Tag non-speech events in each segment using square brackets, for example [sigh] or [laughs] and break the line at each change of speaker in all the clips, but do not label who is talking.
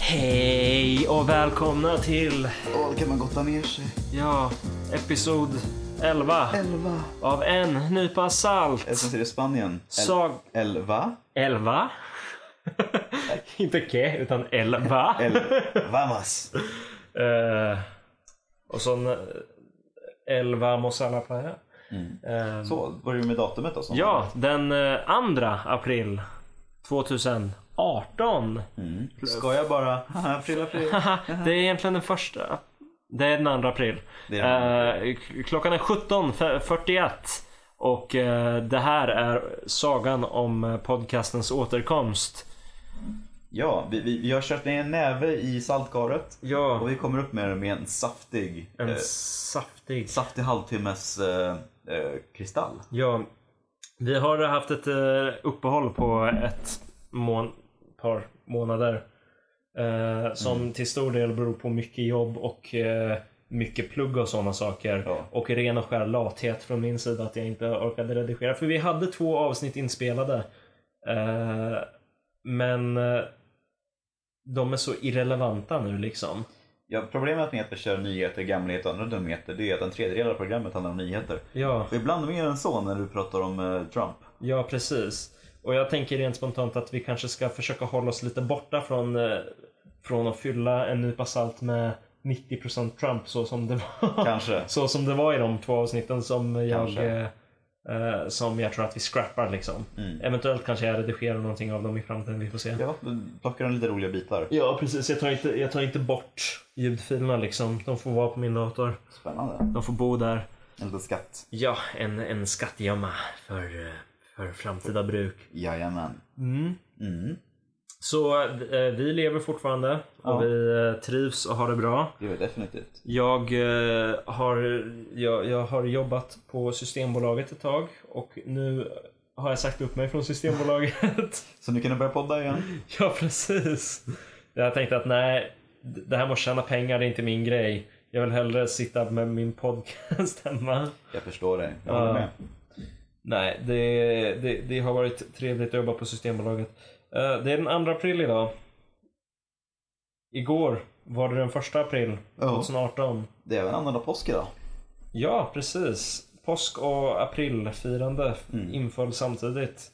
Hej och välkomna till
Åh, kan man gotta ner sig.
ja, episod 11
Elva.
av en nypa salt.
Eller som säger det i Spanien. El-
Sag
elva.
11. [laughs] Inte ke utan elva.
El vamas.
Eh, och så eh, elva Mosala Playa. Eh,
Så, var det med datumet då? Som
ja, den eh, 2 april 2018.
Mm. Ska jag bara? Haha, april, april.
Haha, det är egentligen den första. Det är den 2 april.
Det är den
Eh, k- klockan är 17.41 och eh, det här är sagan om eh, podcastens återkomst.
Ja, vi, vi, vi har kört ner en näve i saltkaret.
Ja,
Och vi kommer upp med det med en saftig,
en
eh,
saftig.
saftig halvtimmes eh, eh, kristall.
Ja, vi har haft ett eh, uppehåll på ett mån- par månader. eh, Som till stor del beror på mycket jobb och eh, mycket plugg och sådana saker.
Ja.
Och ren och skär lathet från min sida att jag inte orkade redigera. För vi hade två avsnitt inspelade. Eh, Men eh, de är så irrelevanta nu liksom.
Ja, problemet med att vi kör nyheter, gamlighet och andra dumheter det är att en tredjedel av programmet handlar om nyheter.
Ja.
Och ibland mer än så när du pratar om eh, Trump.
Ja, precis. Och jag tänker rent spontant att vi kanske ska försöka hålla oss lite borta från, eh, från att fylla en nypa salt med 90% Trump så som det var. [laughs]
Kanske.
Så som det var i de två avsnitten som jag,
Kanske.
eh, eh, som jag tror att vi scrappar liksom.
Mm.
Eventuellt kanske jag redigerar någonting av dem i framtiden, vi får se.
Ja, du plockar en lite roliga bitar.
Ja, precis. Jag tar, inte, jag tar inte bort ljudfilerna liksom. De får vara på min dator.
Spännande.
De får bo där.
En liten skatt.
Ja, en, en skattgömma för, eh, för framtida bruk.
Jajamän.
Mm.
Mm,
Så eh, vi lever fortfarande och
Ja.
vi eh, trivs och har det bra.
det är definitivt.
Jag, eh, har, jag, jag har jobbat på Systembolaget ett tag och nu har jag sagt upp mig från Systembolaget. [laughs]
Så nu kan du börja podda igen.
ja, precis. Jag tänkte att nej, det här med att tjäna pengar det är inte min grej. Jag vill hellre sitta med min podcast [laughs] hemma.
Jag förstår dig. Jag håller
Ja.
med.
Nej, det, det, det har varit trevligt att jobba på Systembolaget. Eh, det är den 2 april idag. Igår var det den 1 april
Ja.
2018.
Det är även annandag påsk idag.
Ja, precis. Påsk och aprilfirande mm. inföll samtidigt.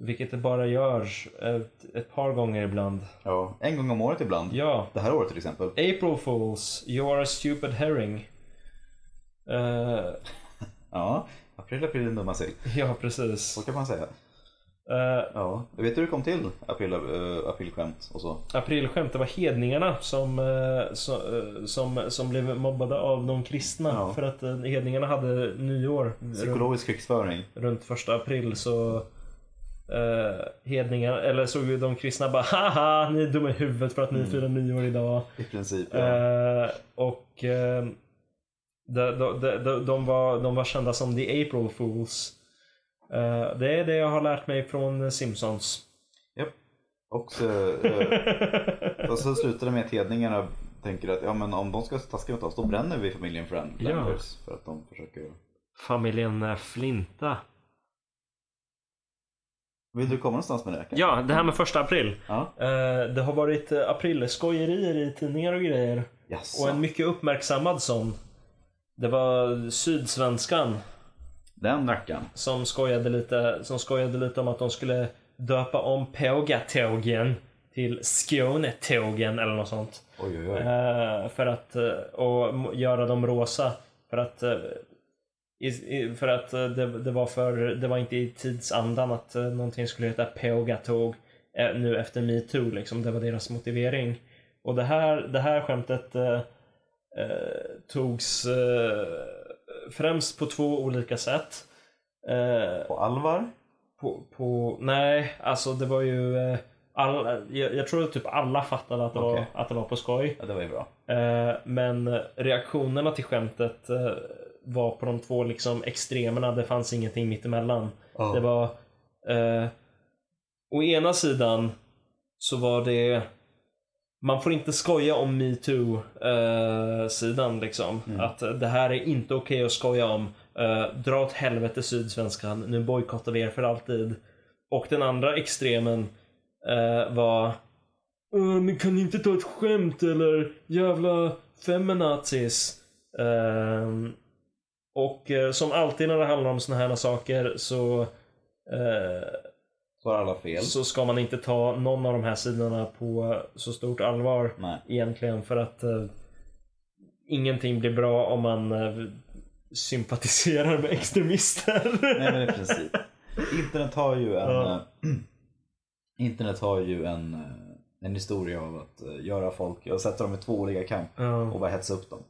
Vilket det bara görs ett, ett par gånger ibland.
Ja. En gång om året ibland.
Ja,
Det här året till exempel.
April Fools, you are a stupid herring. Eh, [laughs]
Ja. April, april, den dumma sill.
ja, precis.
Så kan man säga.
Eh,
Ja. Jag vet du hur det kom till? April, äh, aprilskämt och så.
aprilskämt. Det var hedningarna som, eh, som, eh, som, som blev mobbade av de kristna.
Ja. Mm.
För att eh, hedningarna hade nyår runt,
Psykologisk krigsföring.
runt första april. Så eh, hedningarna, eller såg ju de kristna bara haha ni är dumma i huvudet för att ni firar nyår idag.
I princip. Ja.
Eh, och eh, de, de, de, de, de, var, de var kända som the April Fools. Eh, det är det jag har lärt mig från Simpsons.
Japp. Och så, äh, fast så slutar det med att hedningarna tänker att ja, men om de ska taska mot oss då bränner vi familjen Friend
Ja.
Flanders. För att de försöker...
Familjen Flinta.
Vill du komma någonstans med det? kanske?
Ja, det här med första april.
ja.
Eh, Det har varit eh, aprilskojerier i tidningar och grejer.
Jaså.
Och en mycket uppmärksammad sån. Det var Sydsvenskan
Den rackaren.
som skojade lite, som skojade lite om att de skulle döpa om Pågatågen till Skånetågen eller något sånt.
Oj, oj, oj.
Eh, För att, eh, och m- göra dem rosa. För att, eh, i- i- för att eh, det, det, var för, det var inte i tidsandan att eh, någonting skulle heta Pågatåg eh, nu efter metoo. Liksom. Det var deras motivering. Och det här, det här skämtet eh, eh, togs eh, främst på två olika sätt. Eh,
På Alvar?
på, på, nej, alltså det var ju... eh, Alla, jag, jag tror att typ alla fattade att det,
Okej.
var, att det var på skoj.
Ja, det var ju bra.
Eh, Men eh, reaktionerna till skämtet eh, var på de två liksom extremerna. Det fanns ingenting mittemellan.
Ja.
Det var... Eh, å ena sidan så var det... Man får inte skoja om metoo-sidan. liksom. Att eh, det här är inte okej att skoja om. Eh, dra åt helvete Sydsvenskan. Nu bojkottar vi er för alltid. Och den andra extremen eh, var "Åh, men kan ni inte ta ett skämt eller jävla feminazis? Ehm, och eh, som alltid när det handlar om såna här saker så, eh,
Så har alla fel.
så ska man inte ta någon av de här sidorna på så stort allvar
Nej.
egentligen för att eh, ingenting blir bra om man eh, sympatiserar med [laughs] extremister.
Nej men i princip. Internet har ju en,
Ja.
eh, [clears throat] internet har ju en, eh, en historia av att eh, göra folk, jag sätter dem i två olika kamp
Ja.
och bara hetsa upp dem.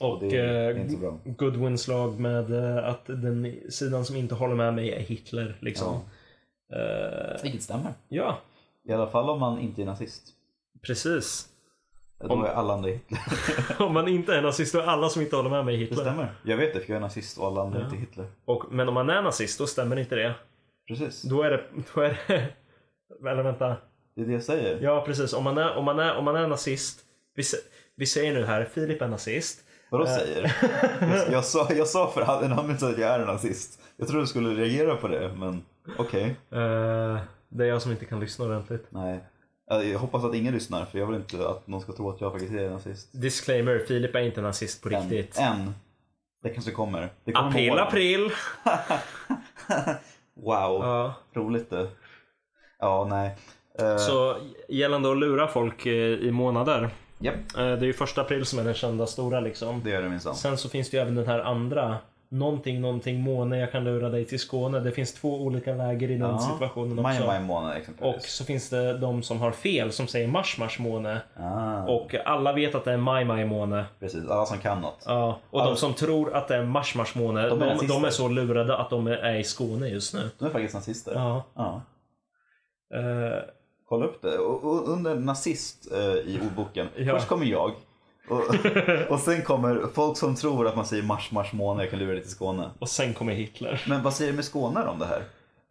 Och
det är
eh,
inte så bra.
Goodwins lag med eh, att den sidan som inte håller med mig är Hitler. Liksom. Ja,
Vilket stämmer.
ja
I alla fall om man inte är nazist.
precis. [laughs]
Då
Om-
är alla andra Hitler.
Om man inte är nazist då är alla som inte håller med mig
Det
Hitler.
stämmer. Jag vet det för jag är nazist och alla andra är inte Hitler.
Och, men om man är nazist då stämmer inte det.
Precis.
Då är det... Då är det [laughs] eller vänta.
Det är det jag säger.
Ja precis, om man är, om man är, om man är nazist. Vi, sä- vi säger nu här, Filip är nazist.
Vadå säger? Jag, jag, sa, jag sa för en annan att jag är nazist. Jag tror du skulle reagera på det men okej.
Eh, det är jag som inte kan lyssna ordentligt.
Nej. Jag hoppas att ingen lyssnar för jag vill inte att någon ska tro att jag faktiskt är nazist.
Disclaimer, Filip är inte nazist på riktigt.
Än. Än. Det kanske kommer. Det kommer med
April,
åren.
april!
Wow.
Ja.
Roligt det. Ja, nej. Eh,
Så gällande att lura folk eh, i månader. Eh,
Japp,
Det är ju första april som är den kända stora liksom.
det gör det minsann.
Sen så finns det ju även den här andra. Någonting, någonting, måne, jag kan lura dig till Skåne. Det finns två olika läger i den
Ja.
situationen
Maj,
också.
maj månad
Och
exempelvis.
så finns det de som har fel som säger mars, mars, måne.
Ah,
Och alla vet att det är maj, maj, måne.
precis, alla som kan något.
Ja, och de som tror att det är mars, mars måne,
De är
de, de,
nazister.
är så lurade att de är i Skåne just nu.
De är faktiskt nazister.
Ja.
Ja.
Eh,
Kolla upp det. Och, och under nazist eh, i ordboken,
Ja.
först kommer jag.
[laughs]
Och, och sen kommer folk som tror att man säger mars, mars månad, jag kan lura dig till Skåne.
och sen kommer Hitler.
Men vad säger du med skånare om det här?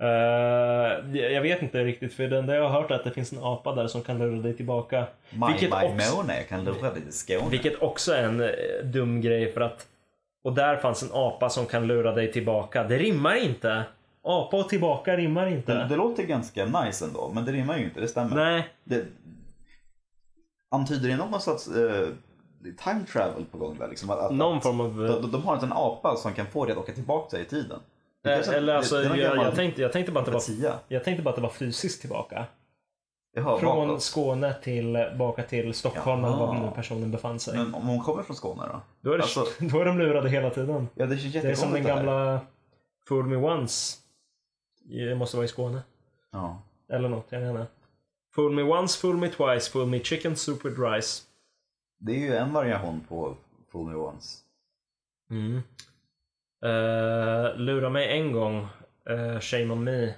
Eh, jag vet inte riktigt, för det enda jag har hört är att det finns en apa där som kan lura dig tillbaka.
Maj,
Vilket
maj
också-
månad, jag kan lura dig till Skåne.
Vilket också är en eh, dum grej för att... Och där fanns en apa som kan lura dig tillbaka. Det rimmar inte! Apa och tillbaka rimmar inte.
Det, det låter ganska nice ändå, men det rimmar ju inte, det stämmer.
Nej,
Det... Antyder det någon slags eh, time travel på gång där? Liksom, att, att,
någon form av...
de, de- de har inte en apa som kan få dig att åka tillbaka i tiden. Det kanske-
eller
det-
alltså,
det är någon
jag,
gammal
jag, tänkte, jag, tänkte bara att det var,
profetia.
jag tänkte bara att det var fysiskt tillbaka.
Jaha,
Från
bakåt.
Skåne tillbaka till Stockholm eller var
Jaha.
nu personen befann sig.
Men om hon kommer från Skåne då?
Då är, det,
Alltså-
[laughs] då är de lurade hela tiden.
Ja, det känns
Det är som den
jättekonstigt det här.
gamla Fool Me Once. Det måste vara i Skåne.
Ja.
Eller något, jag vet inte. Fool Me Once, Fool Me Twice, Fool Me Chicken Soup with Rice.
Det är ju en variation på Fool Me Once.
Mm. Eh, lura mig en gång, eh, shame on me.
Mm.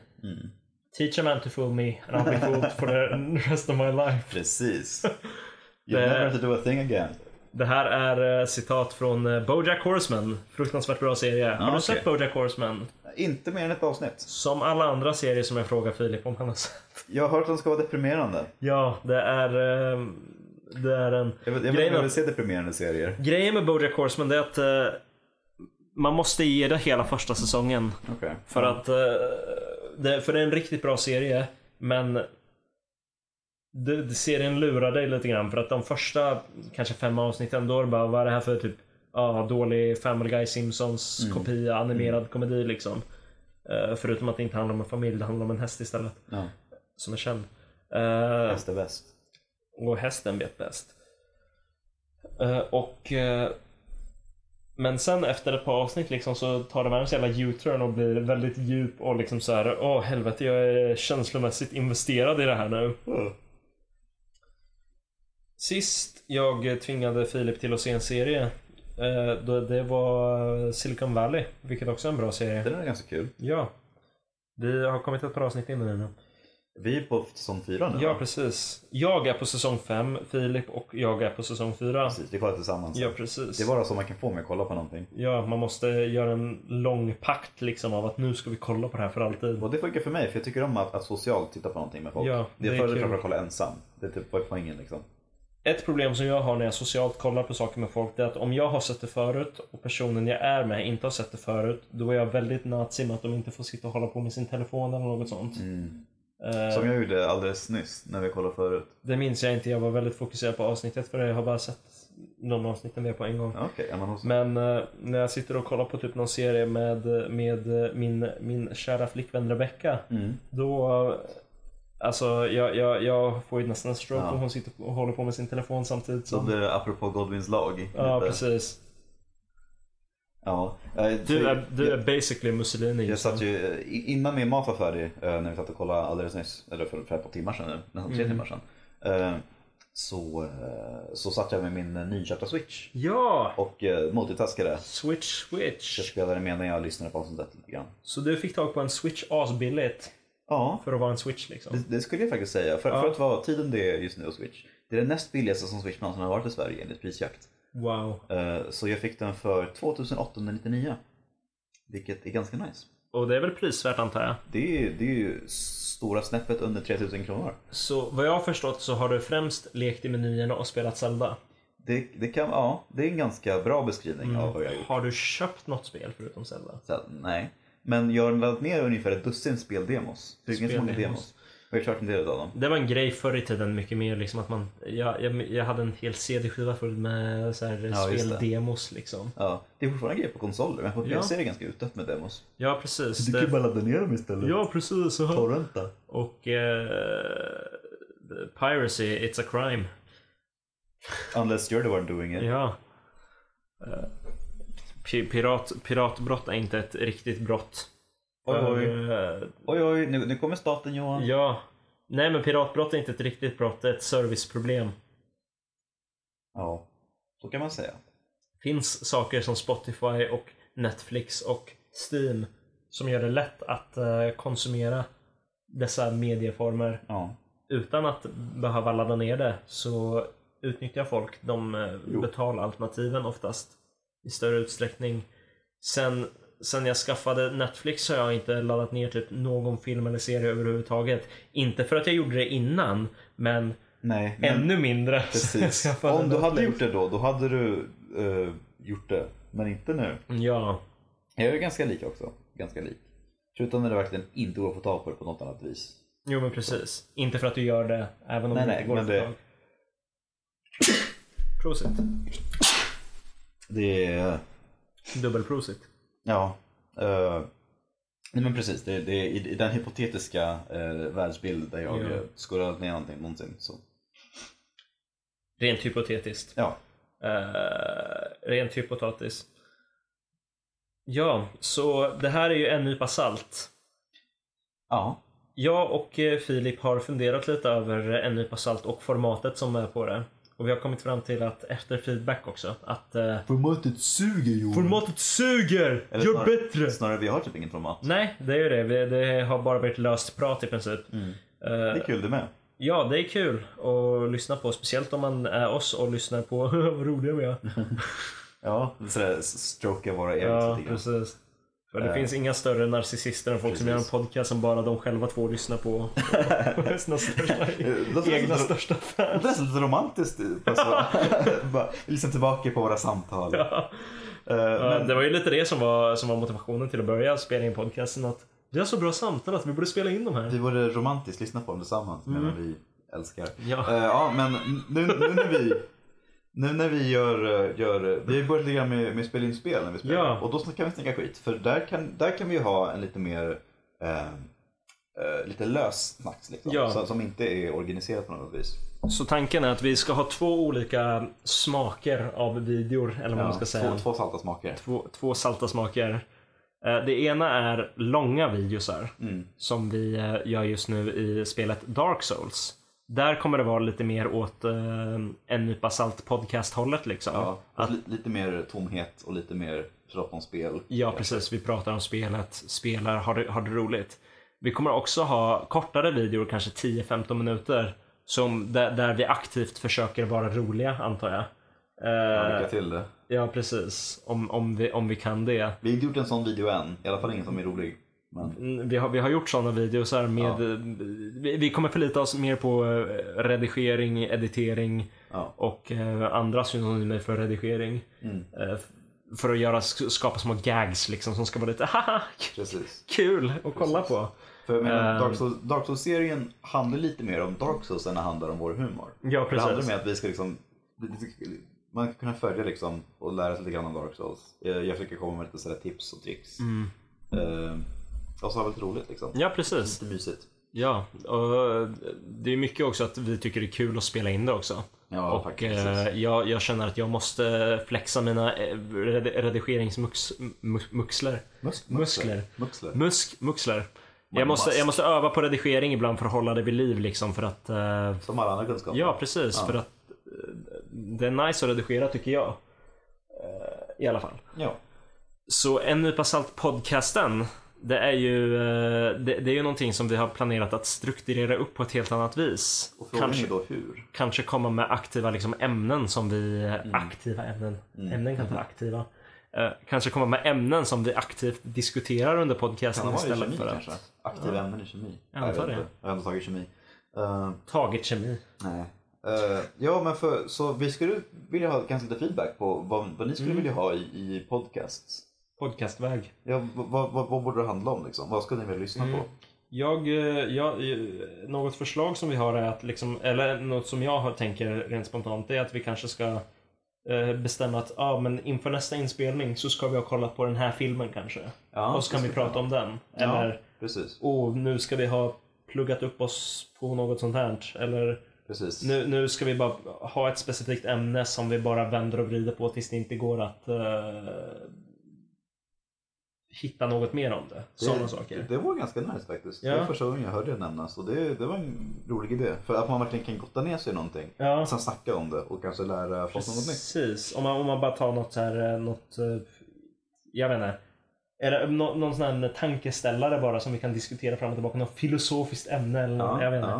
Teach a man to fool me and I'll be fooled for the rest of my life. [laughs]
Precis.
Det-
You'll never have to do a thing again.
Det här är eh, citat från eh, Bojack Horseman. Fruktansvärt bra serie. Har du
okej.
sett Bojack Horseman?
Inte mer än ett avsnitt.
Som alla andra serier som jag frågar Filip om han har sett. [laughs]
Jag har hört att den ska vara deprimerande.
Ja, det är... ehm, Det är en...
Jag vill, jag vill,
Grejen
jag
är-
vill se deprimerande serier.
Grejen med Bojack Horseman det är att eh, man måste ge det hela första säsongen.
Okej.
För att eh, det, för det är en riktigt bra serie, men det, det, serien lurar dig lite grann. För att de första kanske fem avsnitten, då är det bara, vad är det här för typ ja, dålig Family Guy Simpsons kopia, animerad komedi liksom. Eh, förutom att det inte handlar om en familj, det handlar om en häst istället.
Ja.
Som är känd. Eh,
Bäst är bäst.
och hästen vet bäst. Eh, och eh, Men sen efter ett par avsnitt liksom så tar det med en så jävla U-turn och blir väldigt djup och liksom så här Åh helvete jag är känslomässigt investerad i det här nu. Sist jag tvingade Filip till att se en serie eh, då det var Silicon Valley, vilket också är en bra serie.
Den är ganska kul.
Ja. Vi har kommit ett par avsnitt in i den nu.
Vi är på säsong fyra nu
Ja,
va?
precis. Jag är på säsong 5, Filip och jag är på säsong 4.
precis. Vi kollar tillsammans.
Ja, precis.
Det är bara så man kan få mig att kolla på någonting.
Ja, man måste göra en lång pakt liksom av att nu ska vi kolla på det här för alltid.
Och det funkar för mig för jag tycker om att, att socialt titta på någonting med folk.
Ja,
det är
det är
fördel
kul.
framför att kolla ensam. Det är typ vad är poängen liksom.
Ett problem som jag har när jag socialt kollar på saker med folk det är att om jag har sett det förut och personen jag är med inte har sett det förut då är jag väldigt nazi med att de inte får sitta och hålla på med sin telefon eller något sånt. Eh,
Mm. Som jag gjorde alldeles nyss när vi kollade förut.
Det minns jag inte, jag var väldigt fokuserad på avsnittet för jag har bara sett de avsnitten vi har på en gång.
Ja, Okej, ja, men hos...
Men eh, när jag sitter och kollar på typ någon serie med, med eh, min, min kära flickvän Rebecca
mm.
Då, eh, alltså jag, jag, jag får ju nästan en stroke
Ja.
om hon sitter och håller på med sin telefon samtidigt
Så
som...
blir det apropå Godwins lag.
Ja,
lite.
precis.
Ja. Eh,
Du
så-
är, du är basically Mussolini.
Jag
just nu.
satt ju, eh, i- innan min mat var färdig, eh, när vi satt och kollade alldeles nyss, eller för, för ett par timmar sedan nu, nästan tre timmar sedan. eh, Så, eh, så satt jag med min eh, nyköpta switch
Ja!
och eh, multitaskade.
Switch,
Jag
switch.
spelade medan jag lyssnade på avsnittet lite grann.
Så du fick tag på en switch asbilligt
Ja,
för att vara en switch liksom.
det, det skulle jag faktiskt säga. För, för att vara tiden det är just nu och switch. Det är den näst billigaste som switch någonsin har varit i Sverige enligt prisjakt.
Wow.
Eh, Så jag fick den för 2899. Vilket är ganska nice.
Och det är väl prisvärt antar jag?
Det är, ju- det är ju stora snäppet under 3000 kronor.
Så vad jag har förstått så har du främst lekt i menyerna och spelat Zelda.
Det, det, kan, ja, det är en ganska bra beskrivning av vad jag har gjort.
Har du köpt något spel förutom Zelda?
Så, att, nej. Men jag har laddat ner ungefär ett dussin speldemos. Det finns ganska många
Speldemos.
demos. Jag har klart en del av dem.
Det var en grej förr i tiden mycket mer liksom att man Jag, jag, jag hade en hel CD-skiva full med så här
Ja, just det.
speldemos liksom.
Ja, det är fortfarande grejer på konsoler, men på
Ja.
PC är det ganska utdött med demos.
Ja precis.
bara ladda ner dem istället.
Ja precis. så här.
Torrenta.
Och eh, Piracy, it's a crime.
Unless you're the one doing it.
Ja. Eh, pi- Pirat, piratbrott är inte ett riktigt brott.
Oj, oj.
Eh,
Oj, oj, nu, nu kommer staten Johan.
Ja. Nej men piratbrott är inte ett riktigt brott, det är ett serviceproblem.
Ja, så kan man säga.
finns saker som Spotify och Netflix och Steam som gör det lätt att eh, konsumera dessa medieformer
Ja.
utan att behöva ladda ner det så utnyttjar folk de eh,
Jo.
betalalternativen oftast i större utsträckning. Sen, sen jag skaffade Netflix så har jag inte laddat ner typ någon film eller serie överhuvudtaget. Inte för att jag gjorde det innan, men,
Nej, men
ännu mindre. [laughs] sen jag
[laughs] precis.
skaffade
Om du hade
Netflix.
gjort det då, då hade du eh, gjort det. Men inte nu.
Ja.
Jag är ganska lik också. Ganska lik. Förutom när det verkligen inte går att få tag på det på något annat vis.
Jo men precis. Inte för att du gör det även om
Nej,
det
nej,
inte går
men
att
det-
det... Prosit.
Det är...
Dubbelprosit.
Ja. eh, nej men precis, det, det är i, i den hypotetiska uh, världsbild där jag
Ja.
eh, skulle ha lagt ner någonting någonsin. Så.
Rent hypotetiskt.
Ja.
Eh, rent hypotatis. Ja, så det här är ju en nypa salt.
Ja.
Jag och eh, Filip har funderat lite över en nypa salt och formatet som är på det. Och vi har kommit fram till att efter feedback också att eh,
Formatet suger Johan.
formatet suger!
Eller
Gör
snar-
bättre!
Snarare, vi har typ ingen format.
Nej, det är ju det. Vi- Det har bara varit löst prat i princip.
Mm.
Eh,
Det är kul det med.
Ja, det är kul att lyssna på. Speciellt om man är oss och lyssnar på [laughs] vad roliga vi är.
Ja, sådär stroka våra egna
Ja,
lite grann.
precis. För det
Eh.
finns inga större narcissister än folk som gör en
Precis.
podcast som bara de själva två lyssnar
[laughs]
på. Och sina största,
Eh, låter
egna
som-
största fan.
Det är lite romantiskt. Alltså.
[laughs]
Bara Lyssna tillbaka på våra samtal.
Ja.
Eh,
Men
men,
det var ju lite det som var, som var motivationen till att börja spela in podcasten. Att vi har så bra samtal att vi borde spela in de här.
Vi borde romantiskt lyssna på dem tillsammans medan vi älskar.
Mm. Ja.
Eh, ja, men nu, nu när vi nu när vi gör, eh, gör eh, vi har ju börjat lite grann med, med spela in spel när vi spelar.
Ja.
Och då kan vi snacka skit. För där kan, där kan vi ju ha en lite mer eh, eh, lite lös snack liksom.
Ja.
Så, som inte är organiserat på något vis.
Så tanken är att vi ska ha två olika smaker av videor, eller vad man ska säga.
två, två salta smaker.
två, två salta smaker. Eh, Det ena är långa videosar
Mm.
som vi eh, gör just nu i spelet Dark Souls. Där kommer det vara lite mer åt eh, en nypa salt podcast hållet liksom.
Ja,
Ja.
fast li, lite mer tomhet och lite mer prat om spel.
precis. Vi pratar om spelet, spelar, har det, har det roligt. Vi kommer också ha kortare videor, kanske 10-15 minuter, som, där, där vi aktivt försöker vara roliga antar jag.
Ja,
Eh,
Lycka till det.
ja, precis. Om, om, vi, om vi kan det.
Vi har inte gjort en sån video än. I alla fall ingen som är rolig. Men...
Mm, Vi har, vi har gjort sådana videos här med... Vi, vi kommer förlita oss mer på eh, redigering, editering
Ja.
och eh, andra synonymer för redigering.
Mm.
Eh, f- för att göra, skapa små gags liksom som ska vara lite [laughs] haha,
Precis.
kul att kolla på.
För jag menar,
Ehm.
Dark Souls- Dark Souls-serien handlar lite mer om Dark Souls än det handlar om vår humor.
Ja,
Det handlar
precis.
om att vi ska liksom, man ska kunna följa liksom och lära sig lite grann om Dark Souls. Eh, Jag försöker komma med lite sådär tips och tricks. Mm. och så har vi lite roligt liksom.
Ja, precis.
Lite mysigt.
Ja, och eh, det är mycket också att vi tycker det är kul att spela in det också.
Ja,
och
faktiskt.
eh, jag, jag känner att jag måste flexa mina eh, red- redigeringsmuxler.
Musk-
Muskler. Mm.
Muskler.
Musk, muxler. Jag
Man
måste,
must.
jag måste öva på redigering ibland för att hålla det vid liv liksom för att eh,
Som alla andra kunskaper.
Ja, precis. För att eh, det är nice att redigera tycker jag. Eh, I alla fall.
ja.
Så en nypa salt podcasten. Det är ju eh, det, det är ju någonting som vi har planerat att strukturera upp på ett helt annat vis.
Och frågan
Kanske,
är då hur.
kanske komma med aktiva liksom, ämnen som vi...
Mm.
Aktiva ämnen. Ämnen kan inte vara aktiva. Eh, kanske komma med ämnen som vi aktivt diskuterar under podcasten
Kan det vara i
istället
kemi
för att...
kanske? Aktiva ämnen i kemi.
Jag antar
vet
det.
inte. Jag har ändå tagit kemi. Eh,
Taget kemi.
Nej. Eh, ja, men för, så vi skulle vilja ha kanske lite feedback på vad, vad ni skulle
Mm.
vilja ha i, i podcasts.
Podcastväg.
Ja, vad, vad, vad, vad borde det handla om liksom? Vad skulle ni vilja lyssna på?
Mm. Jag, eh, jag, eh, något förslag som vi har är att, liksom, eller något som jag har- tänker rent spontant, det är att vi kanske ska eh, bestämma att ah, men inför nästa inspelning så ska vi ha kollat på den här filmen kanske.
Ja,
och så kan
det
vi
skulle
prata om den. Eller,
Ja, precis.
oh, nu ska vi ha pluggat upp oss på något sånt här. Eller,
precis.
nu, nu ska vi bara ha ett specifikt ämne som vi bara vänder och vrider på tills det inte går att eh, hitta något mer om det. Sådana saker.
Det, det var ganska nice faktiskt.
Ja.
Det var första gången jag hörde det nämnas och det, det var en rolig idé. För att man verkligen kan gotta ner sig i någonting.
Ja.
Och sen snacka om det och kanske lära folk något nytt.
Precis, om man, om man bara tar något så här, eh, något, eh, jag vet inte. Eller eh, nå- någon sån här tankeställare bara som vi kan diskutera fram och tillbaka. Något filosofiskt ämne eller något, jag vet inte.
ja, det är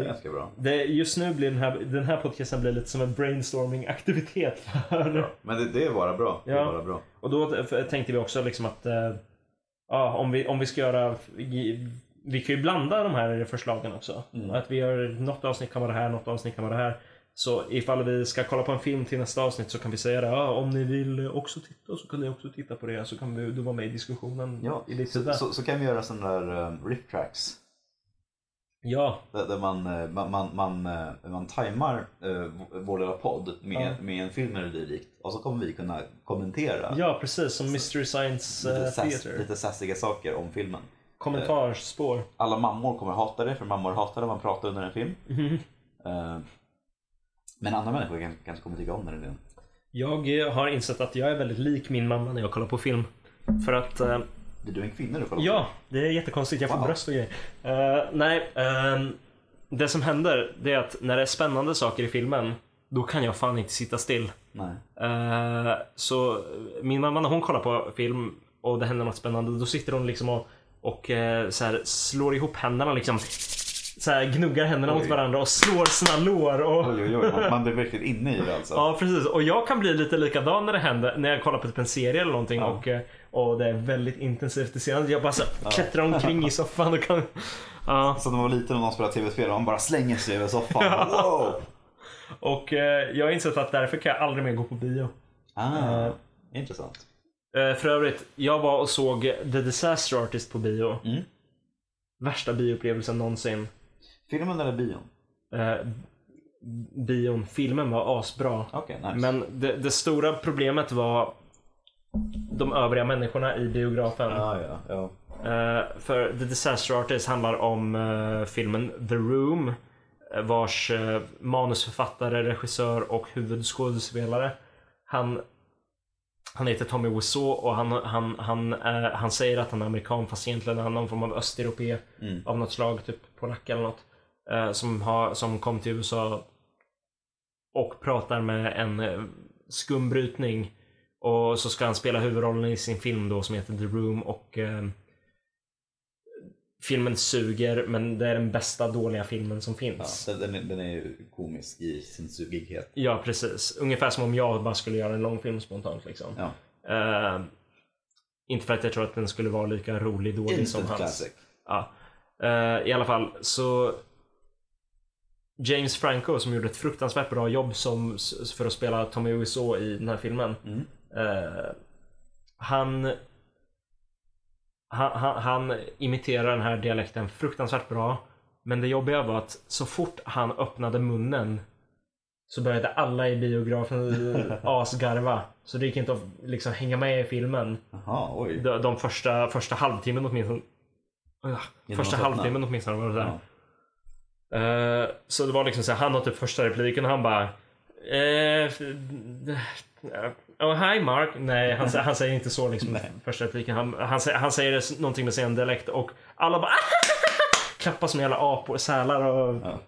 Eh,
ganska bra.
det, just nu blir den här, den här podcasten blir lite som en brainstorming-aktivitet. För,
Men det, det är bara bra. Det
Ja.
är bara bra.
Och då t- f- tänkte vi också liksom att eh, ja, om, vi, om vi ska göra vi- vi kan ju blanda de här förslagen också.
Mm.
Att vi gör något avsnitt kan vara det här, något avsnitt kan vara det här. Så ifall vi ska kolla på en film till nästa avsnitt så kan vi säga det. Ja, om ni vill också titta så kan ni också titta på det. Så kan vi då vara med i diskussionen.
Ja,
i lite
så,
där.
så, så kan vi göra sådana där um, riff tracks.
ja
Där, där man, eh, man, man, man, eh, man tajmar eh, v- vår lilla podd med, med en film eller dylikt och så kommer vi kunna kommentera
ja, precis. Som Mystery Science eh,
lite, sass,
Theater.
lite sassiga saker om filmen.
Kommentarspår.
Alla mammor kommer hata det för mammor hatar när man pratar under en film.
Mm-hmm.
Eh, men andra människor kan, kanske kommer tycka om den idén.
Jag eh, har insett att jag är väldigt lik min mamma när jag kollar på film. För att eh,
Blir du en kvinna du kollar på?
Ja, det är jättekonstigt. Jag får
Wow.
bröst och grejer. Eh, nej, ehm, det som händer det är att när det är spännande saker i filmen, då kan jag fan inte sitta still.
Nej.
Eh, så min mamma när hon kollar på film och det händer något spännande, då sitter hon liksom och, och eh, så här, slår ihop händerna liksom. Så här, gnuggar händerna mot
Oj.
varandra och slår sina lår. Och...
Oj, oj, oj. Man, man blir verkligen inne i det alltså.
Ja precis och jag kan bli lite likadan när det händer när jag kollar på typ en serie eller någonting och, eh, och det är väldigt intensivt i scenen. Jag bara så klättrar omkring i soffan och
[laughs]
kan... Ja.
Så när man var liten och någon spelade tv-spel och man bara slänger sig över soffan. Wow!
Och eh, jag har insett att därför kan jag aldrig mer gå på bio.
Ah, Intressant.
Eh, För övrigt, jag var och såg The Disaster Artist på bio.
Mm.
Värsta bioupplevelsen någonsin.
Filmen eller bion?
Eh, Bion, filmen var asbra.
Okej, nice.
Men det, det stora problemet var de övriga människorna i biografen.
Ja, Ah, ja, ja.
Eh, för The Disaster Artist handlar om eh, filmen The Room eh, vars eh, manusförfattare, regissör och huvudskådespelare han, han heter Tommy Wiseau och han, han, han, eh, han säger att han är amerikan fast egentligen är han någon form av östeuropé av något slag, typ polack eller något eh, som, har, som kom till USA och pratar med en eh, skum brytning och så ska han spela huvudrollen i sin film då som heter The Room och eh, filmen suger men det är den bästa dåliga filmen som
ja
finns. Ja.
den, den, är, den är ju komisk i sin sugighet.
precis. Ungefär som om jag bara skulle göra en lång film spontant liksom.
Ja.
Eh, inte för att jag tror att den skulle vara lika rolig dålig som
Instant
hans.
classic.
Ja. Eh, I alla fall så James Franco som gjorde ett fruktansvärt bra jobb som, s- för att spela Tommy Wiseau i den här filmen. Eh, han, han, han, han imiterar den här dialekten fruktansvärt bra. Men det jobbiga var att så fort han öppnade munnen så började alla i biografen asgarva. Så det gick inte att liksom hänga med i filmen.
Jaha, oj.
De, de första, första halvtimmen åtminstone. Ugh, Första
att öppna.
halvtimmen åtminstone var det där. Eh, så det var liksom så här, han har typ första repliken och han bara... Eh, f- d- eh, oh, hi Mark. Nej, han, sä- han säger inte så liksom i första repliken. Han, han, sä- han säger det s- någonting med sin dialekt och alla bara [laughs] klappar som jävla apor, sälar och...
Ja.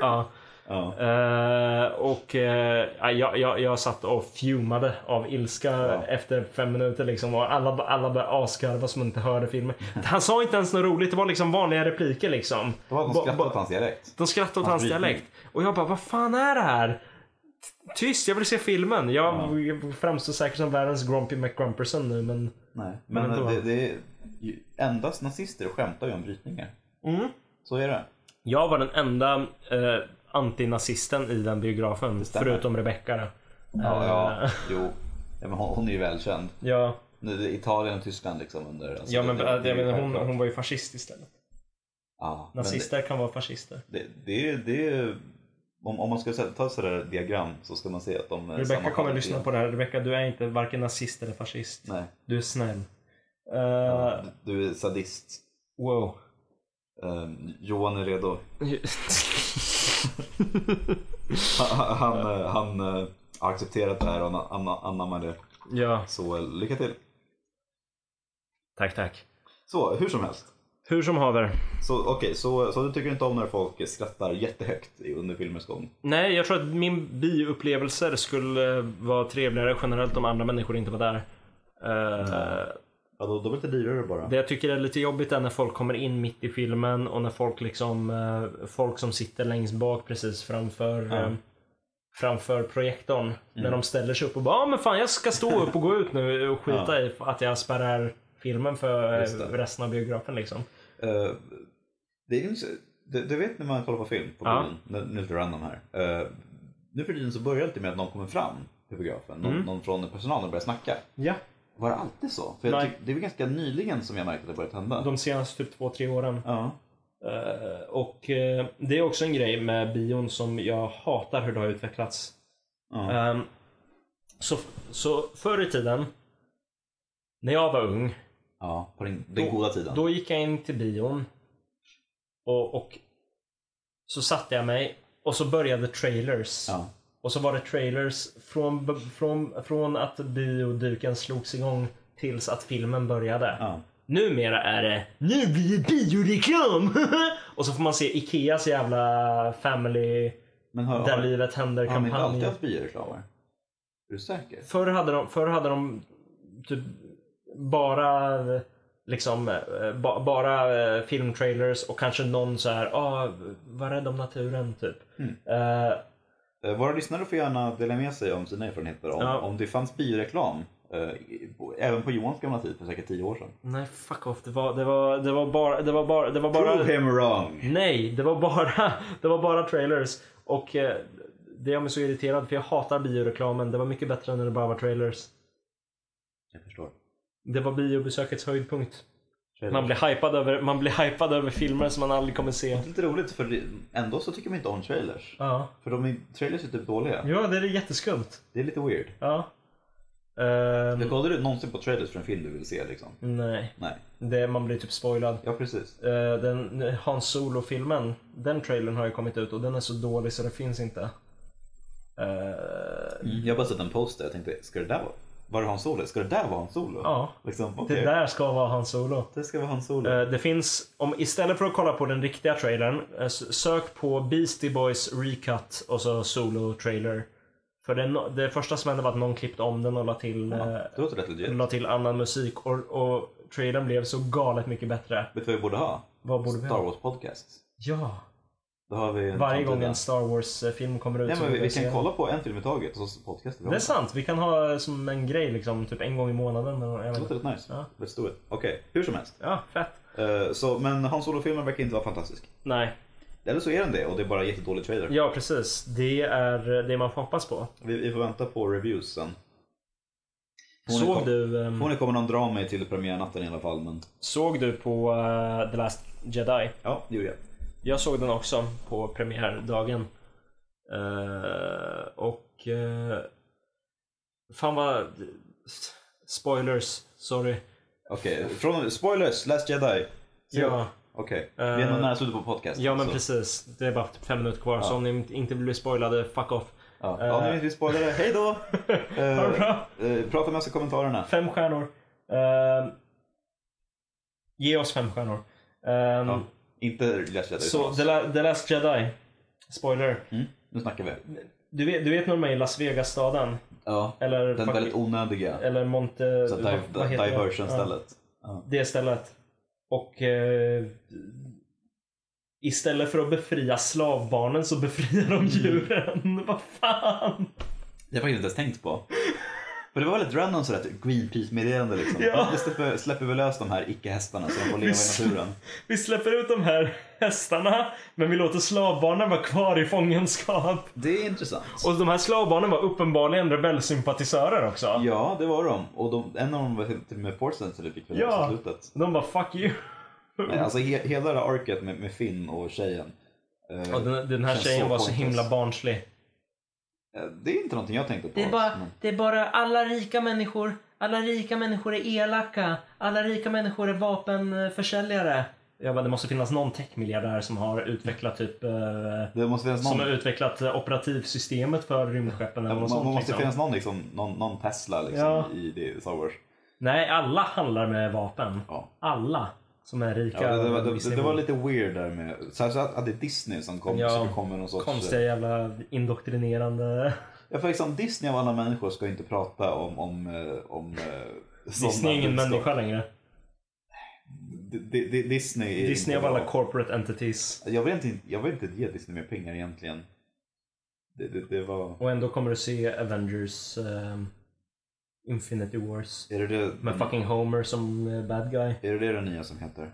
Ja.
Ja.
Eh, och eh, ja, jag, jag, jag satt och fumade av ilska efter fem minuter liksom och alla, ba- alla började asgarva som inte hörde filmen. Han sa inte ens något roligt, det var liksom vanliga repliker liksom.
Det var att de
Ba-
skrattade
ba-
åt hans dialekt.
de skrattade åt hans
brytning.
dialekt. Och jag bara, vad fan är det här? T- Tyst, jag vill se filmen. Jag framstår säkert som världens Grumpy McGrumperson nu men...
Nej. Men
Men det var-
det, det är ju, endast nazister skämtar ju om brytningar.
Mm.
Så är det.
Jag var den enda eh, antinazisten i den biografen.
stämmer.
Förutom Rebecca då.
Ja, ja. Eh, Jo. Ja, men hon, hon är ju välkänd.
Ja,
Nu, det är Italien och Tyskland liksom under... alltså,
ja men äh,
det- det- det är
jag
ju
menar, hon,
självklart.
hon var ju fascist istället.
Ja, men det-
Nazister kan vara fascister.
Det, det, är- det, är- om, om man ska sätta- ta sådär diagram så ska man se att de eh,
Rebecca kommer att lyssna på det här. Rebecca, du är inte varken nazist eller fascist.
Nej,
Du är snäll. Eh,
du du är sadist.
Wow.
Ehm, Johan är redo. Han, han, eh, han eh, har accepterat det här och han- han anammar det.
[laughs] ja,
Så eh, lycka till.
tack tack.
Så hur som helst.
Hur som haver.
Så, okej, så, så du tycker inte om när folk skrattar jättehögt i- under filmens gång?
Nej, jag tror att min bioupplevelser skulle eh, vara trevligare generellt om andra människor inte var där. Eh,
Ja, då, då blir det dyrare bara.
Det jag tycker är lite jobbigt är när folk kommer in mitt i filmen och när folk liksom, eh, folk som sitter längst bak precis framför, eh, framför projektorn,
Mm.
när de ställer sig upp och bara ah, men fan jag ska stå upp och gå ut nu och skita i att jag spärrar filmen för
Just det.
eh, resten av biografen liksom.
Eh, det, är, ju inte- det, det vet när man kollar på film på
Ja.
bilen, nu, nu är det random här. Eh, nu för tiden så börjar det alltid med att någon kommer fram till biografen, någon,
Mm.
någon från personalen börjar snacka.
Ja.
Var det alltid så? För jag
Nej.
tyck, det var ganska nyligen som jag märkte att det börjat hända.
De senaste typ två, tre åren.
Ja.
Eh, Och eh, det är också en grej med bion som jag hatar hur det har utvecklats.
Ja.
Ehm, Så, så förr i tiden, när jag var ung,
ja, på den, den goda tiden.
Då gick jag in till bion och, och så satte jag mig och så började trailers.
ja.
Och så var det trailers från, b- från, från att bioduken slogs igång tills att filmen började.
Ja.
Numera är det Nu blir det bioreklam! [laughs] och så får man se Ikeas jävla family
Men har,
där
har,
livet händer
har de inte
kampanj.
alltid haft bioreklamer? Är du säker?
Förr hade de, förr hade de typ bara liksom eh, ba, bara eh, filmtrailers och kanske någon så här, ah, var rädd om naturen typ. Eh,
Eh, Våra lyssnare får gärna dela med sig om sina erfarenheter. Om,
Ja.
om det fanns bioreklam, eh, i- på- även på Johans gamla tid för säkert tio år sedan.
nej fuck off, det var, det var, det var bara, det var bara, det var bara,
Prove him wrong!
nej, det var bara, [laughs] det var bara trailers och eh, det gör mig så irriterad för jag hatar bioreklamen. Det var mycket bättre när det bara var trailers.
Jag förstår.
Det var biobesökets höjdpunkt.
Trailers.
Man blir hypad över, man blir hypad över filmer som man aldrig kommer se.
Det är lite roligt för det- ändå så tycker man inte om trailers.
Ja.
För de är, trailers är typ dåliga.
Ja, det är jätteskumt.
Det är lite weird.
Ja. Ehm,
Men Kollar du någonsin på trailers för en film du vill se liksom?
nej,
Nej.
det, man blir typ spoilad.
Ja precis.
Eh, den Hans Solo-filmen, den trailern har ju kommit ut och den är så dålig så det finns inte. Eh,
Jag har bara sett en poster jag tänkte, ska det där vara? Var det Han Solo? Ska det där vara Han Solo?
Ja.
Liksom,
det
okej. Det,
där ska vara Hans Solo.
ska vara Han Solo.
Eh, det finns, om, istället för att kolla på den riktiga trailern, eh, s- sök på Beastie Boys Recut och så Solo-trailer. För det, är no- det första som hände var att någon klippte om den och la till, eh,
det låter rätt legit.
la till annan musik och, och trailern blev så galet mycket bättre.
Vet du vad vi borde ha?
Vad borde vi
Star
ha?
Wars podcast.
Ja.
Då har vi en
Varje gång
framtida-
en Star Wars-film kommer ut
Nej
så
men vi,
vill
vi
jag se
kan
den.
kolla på en film i taget och så podcastar vi om
Det är sant. Vi kan ha som en grej liksom, typ en gång i månaden. Eller, jag
Det
vet
låter
inte.
rätt nice.
Ja.
Let's do it. Okej, hur som helst.
Ja, fett.
Eh, så, men Han Solo-filmen verkar inte vara fantastisk.
Nej.
Eller så är den det och det är bara jättedålig trailer.
Ja, precis. Det är det man får hoppas på.
Vi, vi får vänta på reviews sen. Får ni
Såg
kom-
du, ehm,
Får ni komma någon dra mig till premiärnatten i alla fall. Men
såg du på eh, The Last Jedi?
ja, det gjorde jag.
Jag såg den också på premiärdagen. Eh, och... eh, fan vad... Spoilers, sorry.
Okej, från spoilers, Last Jedi.
Ja,
Okej, vi är nog
Eh,
nära slutet på podcasten.
ja men
så-
precis. Det är bara typ fem minuter kvar så om ni inte blir spoilade, fuck off.
Ja, ja nu vet vi spoilare. Hej då! Eh,
[laughs] Ha det bra.
eh, prata med oss i kommentarerna.
Fem stjärnor. Eh, ge oss fem stjärnor. Eh,
Ja, inte Last Jedi.
Så
Så
The, La- The Last Jedi. Spoiler.
mm, nu snackar vi.
Du vet, du vet när de är i Las Vegas-staden?
Ja,
Eller,
den
fuck-
väldigt onödiga.
eller Monte...
Så
vad-
div-
vad heter det?
Diversion-stället. Ja.
det stället. Och eh, istället för att befria slavbarnen så befriar
Mm.
de djuren. [laughs] Vad fan!
Det har jag faktiskt inte ens tänkt på. Men det var väldigt random sådär typ Greenpeace-meddelande liksom.
Ja.
Vi släpper, släpper vi lös de här icke-hästarna så de får leva
Visst.
i naturen.
Vi släpper ut de här hästarna men vi låter slavbarnen vara kvar i fångenskap.
Det är intressant.
Och de här slavbarnen var uppenbarligen rebellsympatisörer också.
Ja, det var de. Och de, en av dem var till till och med Force Sensitive fick vi
Ja.
ja. i slutet.
De bara fuck you.
Nej, alltså he, hela det här arket med, med Finn och tjejen. eh,
Och den, den här
Känns
tjejen
så
var så
pointless.
himla barnslig.
eh, det är inte någonting jag tänkte på.
Det är, bara,
men-
det är bara alla rika människor. Alla rika människor är elaka. Alla rika människor är vapenförsäljare.
Jag bara, det måste finnas någon techmiljardär som har utvecklat typ eh,
Det måste finnas någon,
Som har utvecklat eh, operativsystemet för rymdskeppen eller
man,
något
man
sånt.
måste
liksom.
finnas någon, liksom, någon, någon Tesla liksom,
Ja.
i det, Star Wars.
Nej, alla handlar med vapen.
Ja.
Alla som är rika.
Ja, det, det, var-
över en viss
det, det
nivå.
var lite weird där med, särskilt att att det är Disney som kom,
Ja,
så kom med någon sorts...
Konstiga jävla indoktrinerande.
Ja, för liksom Disney av alla människor ska inte prata om... om, eh, om eh, sådana
Disney är ingen
budskap.
människa längre.
Di- di- di- Disney är
Disney av
inte
alla
bra.
corporate entities.
jag vill, inte, jag vill inte ge Disney mer pengar egentligen. Det, det, det var...
Och ändå kommer du se Avengers ehm, Infinity Wars.
Är det det,
Med fucking Homer som eh, bad guy.
är det det den nya som heter?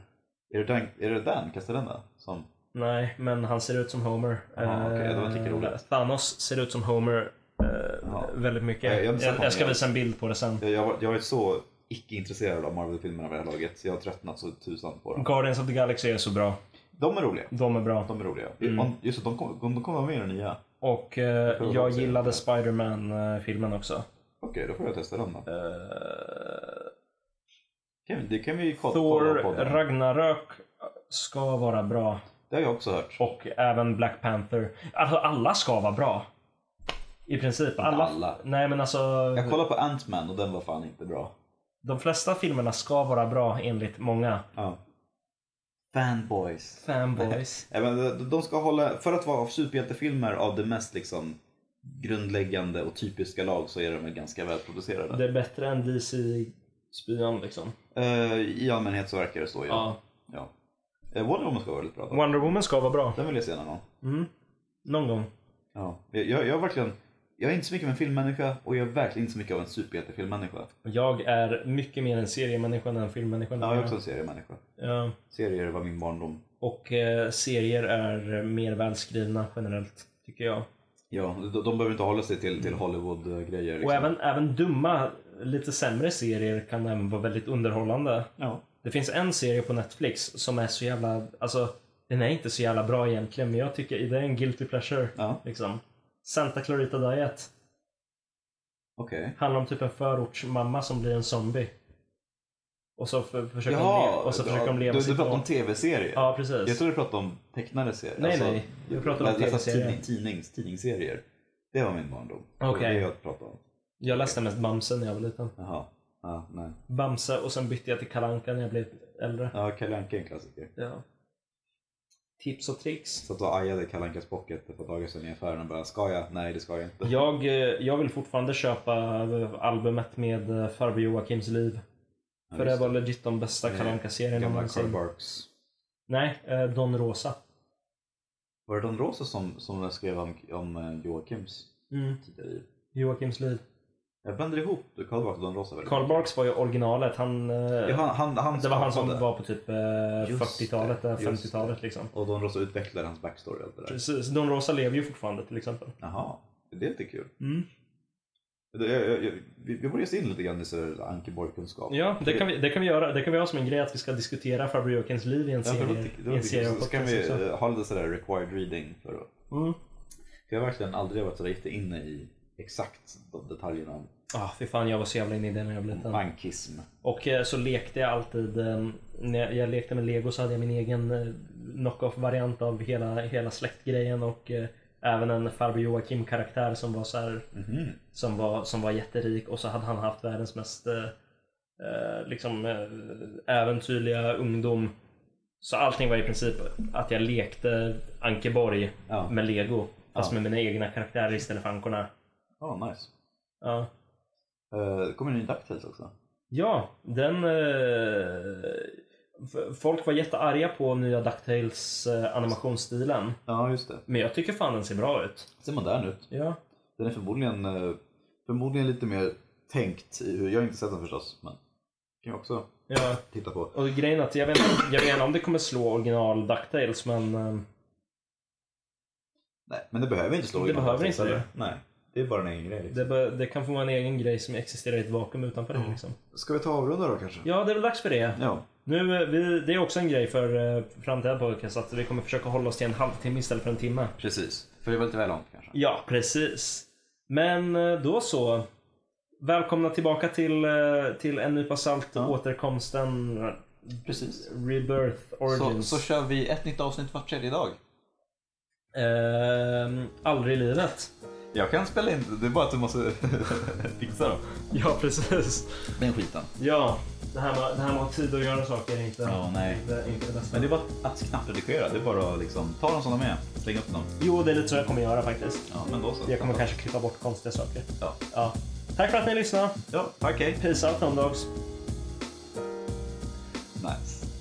Är det den? Är det den? Kastar den där? Som...
Nej, men han ser ut som Homer.
Ja, okej, det var inte lika
Eh,
roligt.
Thanos ser ut som Homer eh,
Ja.
väldigt mycket.
Jag- jag har
Jag,
inte sett
jag,
honom
ska
än.
visa en bild på det sen.
Jag, jag, har- jag har varit så icke-intresserad av Marvel-filmerna vid det här laget. så Jag har tröttnat så tusan på dem.
Guardians of the Galaxy är så bra.
De är roliga.
De är bra.
De är roliga.
Mm.
Om- Just det, de kommer de kommer vara med i den nya.
Och eh,
får väl
jag
också
gillade
göra.
Spider-Man-filmen också.
Okej, då får jag testa den då.
Eh,
Kan vi- Det kan vi ju kolla
Thor
kolla på. den.
Ragnarök ska vara bra.
Det har jag också hört.
Och även Black Panther. Alltså alla ska vara bra. I princip. Alla.
alla.
Nej men alltså.
Jag kollade på Ant-Man och den var fan inte bra.
De flesta filmerna ska vara bra enligt många.
Ja. Fanboys.
Fanboys.
Ja, men de- de ska hålla, för att vara superhjältefilmer av det mest liksom grundläggande och typiska lag så är de väl ganska välproducerade.
Det är bättre än DC-spyan liksom.
Eh, I allmänhet så verkar det så ja.
Ja.
ja. Eh, Wonder Woman ska vara väldigt bra. dock.
Wonder Woman ska vara bra.
Den vill jag se någon gång.
Mm. Någon gång.
Ja. Jag, jag, jag, är verkligen, jag är inte så mycket av en filmmänniska och jag är verkligen inte så mycket av en superhjältefilmmänniska.
Jag är mycket mer en seriemänniska än en filmmänniska.
Jag är också en seriemänniska.
Ja.
Serier var min barndom.
Och eh, serier är mer välskrivna generellt, tycker jag.
Ja, de, de behöver inte hålla sig till, till Hollywood-grejer. Liksom.
Mm. Och även, även dumma, lite sämre serier kan även vara väldigt underhållande.
Ja.
Det finns en serie på Netflix som är så jävla, alltså den är inte så jävla bra egentligen men jag tycker det är en guilty pleasure.
Ja,
Liksom. Santa Clarita Diet
okej.
handlar om typ en förortsmamma som blir en zombie. Och så för, försöker, de,
Jaha,
leva, och så försöker de leva
du, du
sitt
pratar om
liv.
tv-serier.
Ja,
Jag alltså,
precis.
trodde du pratade om tecknade serier.
Nej, nej. Jag pratar om
läsa
tv-serier.
Tidning, tidnings, tidningsserier. Det var min barndom. Det var
Okej.
Det jag pratade om.
Jag läste mest Bamse när jag var liten.
Jaha. Ja, nej.
Bamse och sen bytte jag till Kalle Anka när jag blev äldre.
Ja, Kalle Anka är en klassiker.
Ja. Tips och tricks.
Satt och ajade Kalle Ankas pocket för ett par dagar sedan i affären och bara, ska jag? Nej, det ska jag inte.
Jag, eh, jag vill fortfarande köpa eh, albumet med eh, Farbror Joakims liv.
Ja,
För det
just
var legit de bästa
Eh,
Kalle Anka-serien
Gamla Carl
någonsin.
Barks.
Nej, eh, Don Rosa.
Var det Don Rosa som, som skrev om, om eh, Joakims tidigare liv?
Mm, Joakims liv.
Jag blandar ihop Carl Barks och Don Rosa väldigt
Carl
mycket.
Barks var ju originalet. Han, eh,
Ja, han, han, han
det var han som
skapade.
var på typ eh,
Just
40-talet, eh,
det, just
50-talet liksom.
Och Don Rosa utvecklade hans backstory och allt det där.
Precis. Don Rosa lever ju fortfarande till exempel.
Jaha, det är lite kul. Det- jag- jag- jag- Vi, vi borde ge oss in lite grann i så här Ankeborg-kunskap.
Ja, det kan, vi, det kan vi göra. Det kan vi ha som en grej att vi ska diskutera Farbror Jokens liv i en
Ja,
serie.
för då,
i
tycker-
en
då, tycker
serie
jag-
och
så kan
podcast
vi
också.
eh, ha lite sådär required reading. För att,
Mm.
för jag har verkligen aldrig varit så där jätteinne i exakt de detaljerna om
Ah, fy fan, jag var så jävla inne i det när jag blev liten.
ankism.
Och eh, så lekte jag alltid, eh, när jag- jag lekte med lego så hade jag min egen eh, knock-off-variant av hela, hela släktgrejen och eh, även en farbror Joakim-karaktär som var så här,
Mhm.
som var, som var jätterik och så hade han haft världens mest eh, eh, liksom, eh, äventyrliga ungdom. Så allting var i princip att jag lekte Ankeborg
Ja.
med lego fast
Ja.
med mina egna karaktärer istället för ankorna.
Ja, nice.
Ja.
Eh, Det kommer en ny DuckTales också.
Ja, den... Eh, f- folk var jättearga på nya DuckTales eh, animationsstilen.
Ja, just det.
Men jag tycker fan den ser bra ut.
Ser modern ut.
Ja.
Den är förmodligen, eh, förmodligen lite mer tänkt. i hur- Jag har inte sett den förstås, men kan jag också
ja.
titta på.
Och grejen är att jag vet, jag vet inte om det kommer slå original DuckTales men... Eh,
Nej, men det behöver inte slå
Det
igenom
behöver
precis,
inte det.
eller? Nej, det är bara en egen grej. liksom.
det, bör- det kan få vara en egen grej som existerar i ett vakuum utanför det liksom.
Ska vi ta och avrunda då kanske?
Ja, det är väl dags för det.
Ja.
Nu, eh, vi, det är också en grej för eh, framtida podcast att vi kommer försöka hålla oss till en halvtimme istället för en timme.
Precis. För det var lite väl långt kanske.
Ja, precis. Men eh, då så. Välkomna tillbaka till, eh, till en nypa salt,
Ja.
återkomsten,
Precis.
Rebirth Origins.
kör vi ett nytt avsnitt var tredje dag.
Ehm, aldrig i livet.
Jag kan spela in, det är bara att du måste [laughs] fixa dem.
Ja, precis.
Den skiten.
Ja, det här med, det här med att ha tid att göra saker är inte,
Ja, nej.
inte, inte det bästa.
Men det är bara att knappredigera, det är bara att liksom ta dem som de är, slänga upp dem.
Jo, det är lite så jag kommer göra faktiskt.
Ja, men då så.
Jag kommer kanske klippa bort konstiga saker.
Ja,
Ja. Tack för att ni lyssnade.
ja tack hej.
Peace out, Homedogs.
Nice.